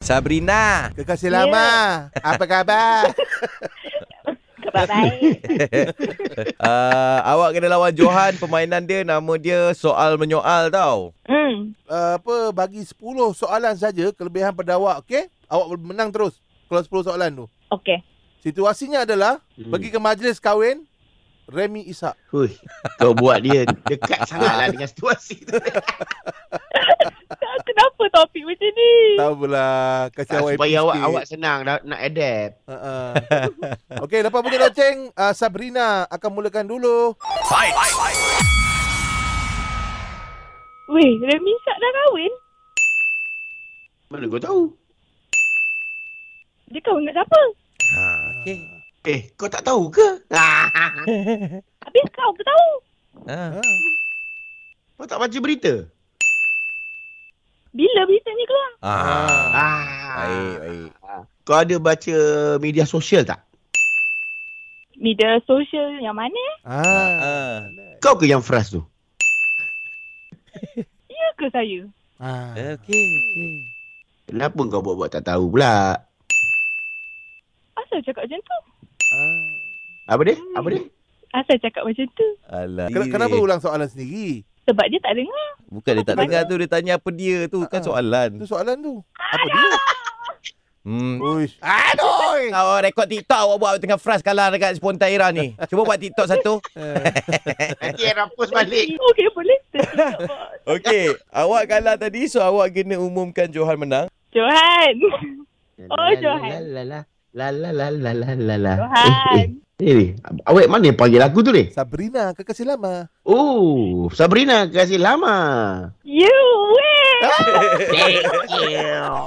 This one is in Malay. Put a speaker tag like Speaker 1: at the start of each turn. Speaker 1: Sabrina.
Speaker 2: Kekasih lama. Apa khabar?
Speaker 3: Khabar baik.
Speaker 1: uh, awak kena lawan Johan. Permainan dia nama dia soal menyoal tau.
Speaker 3: Hmm.
Speaker 2: uh, apa bagi 10 soalan saja kelebihan pada awak, okey? Awak boleh menang terus kalau 10 soalan tu.
Speaker 3: Okey.
Speaker 2: Situasinya adalah hmm.
Speaker 4: Hmm.
Speaker 2: pergi ke majlis kahwin Remy Ishak.
Speaker 4: Hui, kau buat dia dekat sangatlah dengan situasi tu.
Speaker 3: Kenapa topik macam ni?
Speaker 2: Tahu pula kasih awak
Speaker 4: Supaya
Speaker 2: happy
Speaker 4: awak
Speaker 2: sikit.
Speaker 4: awak senang nak, nak adapt.
Speaker 2: Uh-uh. Okey, lepas punya loceng, uh, Sabrina akan mulakan dulu.
Speaker 3: Weh, Remy Syak dah kahwin?
Speaker 4: Mana kau tahu?
Speaker 3: Dia kahwin dengan siapa?
Speaker 1: Ha, okay.
Speaker 4: Eh, kau tak tahu ke? Ah,
Speaker 3: Habis kau pun tahu.
Speaker 1: Ha.
Speaker 2: Ha.
Speaker 4: kau tak baca berita?
Speaker 3: Bila berita ni keluar?
Speaker 1: Ah. Baik,
Speaker 4: Ah.
Speaker 1: baik.
Speaker 4: Kau ada baca media sosial tak?
Speaker 3: Media sosial yang mana?
Speaker 2: Ha.
Speaker 1: Ah.
Speaker 4: Kau ke yang frust tu?
Speaker 3: Ya ke saya?
Speaker 2: Ha.
Speaker 1: Okey.
Speaker 4: Kenapa kau buat-buat tak tahu pula?
Speaker 3: Asal cakap macam tu?
Speaker 2: Ha.
Speaker 4: Apa dia? Apa dia?
Speaker 3: Asal cakap macam tu?
Speaker 1: Alah. Eh,
Speaker 2: Ken- Kenapa ulang soalan sendiri?
Speaker 3: Sebab dia tak dengar.
Speaker 1: Bukan dia tak dengar tu. Dia tanya apa dia tu. Kan
Speaker 2: Ah.
Speaker 1: soalan.
Speaker 2: Itu soalan tu. Apa dia?
Speaker 1: Hmm.
Speaker 2: Uish.
Speaker 4: Aduh!
Speaker 1: Awak rekod TikTok awak buat tengah frust kalah dekat Spontaira ni. Cuba buat TikTok satu.
Speaker 4: Nanti Era post balik.
Speaker 3: Okey, boleh. Tertinggal, bos.
Speaker 1: Okey, awak kalah tadi so awak kena umumkan Johan menang.
Speaker 3: Johan. Oh, Johan.
Speaker 4: La la la la la la la la la.
Speaker 3: Johan.
Speaker 4: Eh, eh. Ni, awek mana yang panggil aku tu ni?
Speaker 2: Sabrina, kekasih lama.
Speaker 4: Oh, Sabrina kasih lama.
Speaker 1: Ah.
Speaker 3: You win.
Speaker 4: Thank you.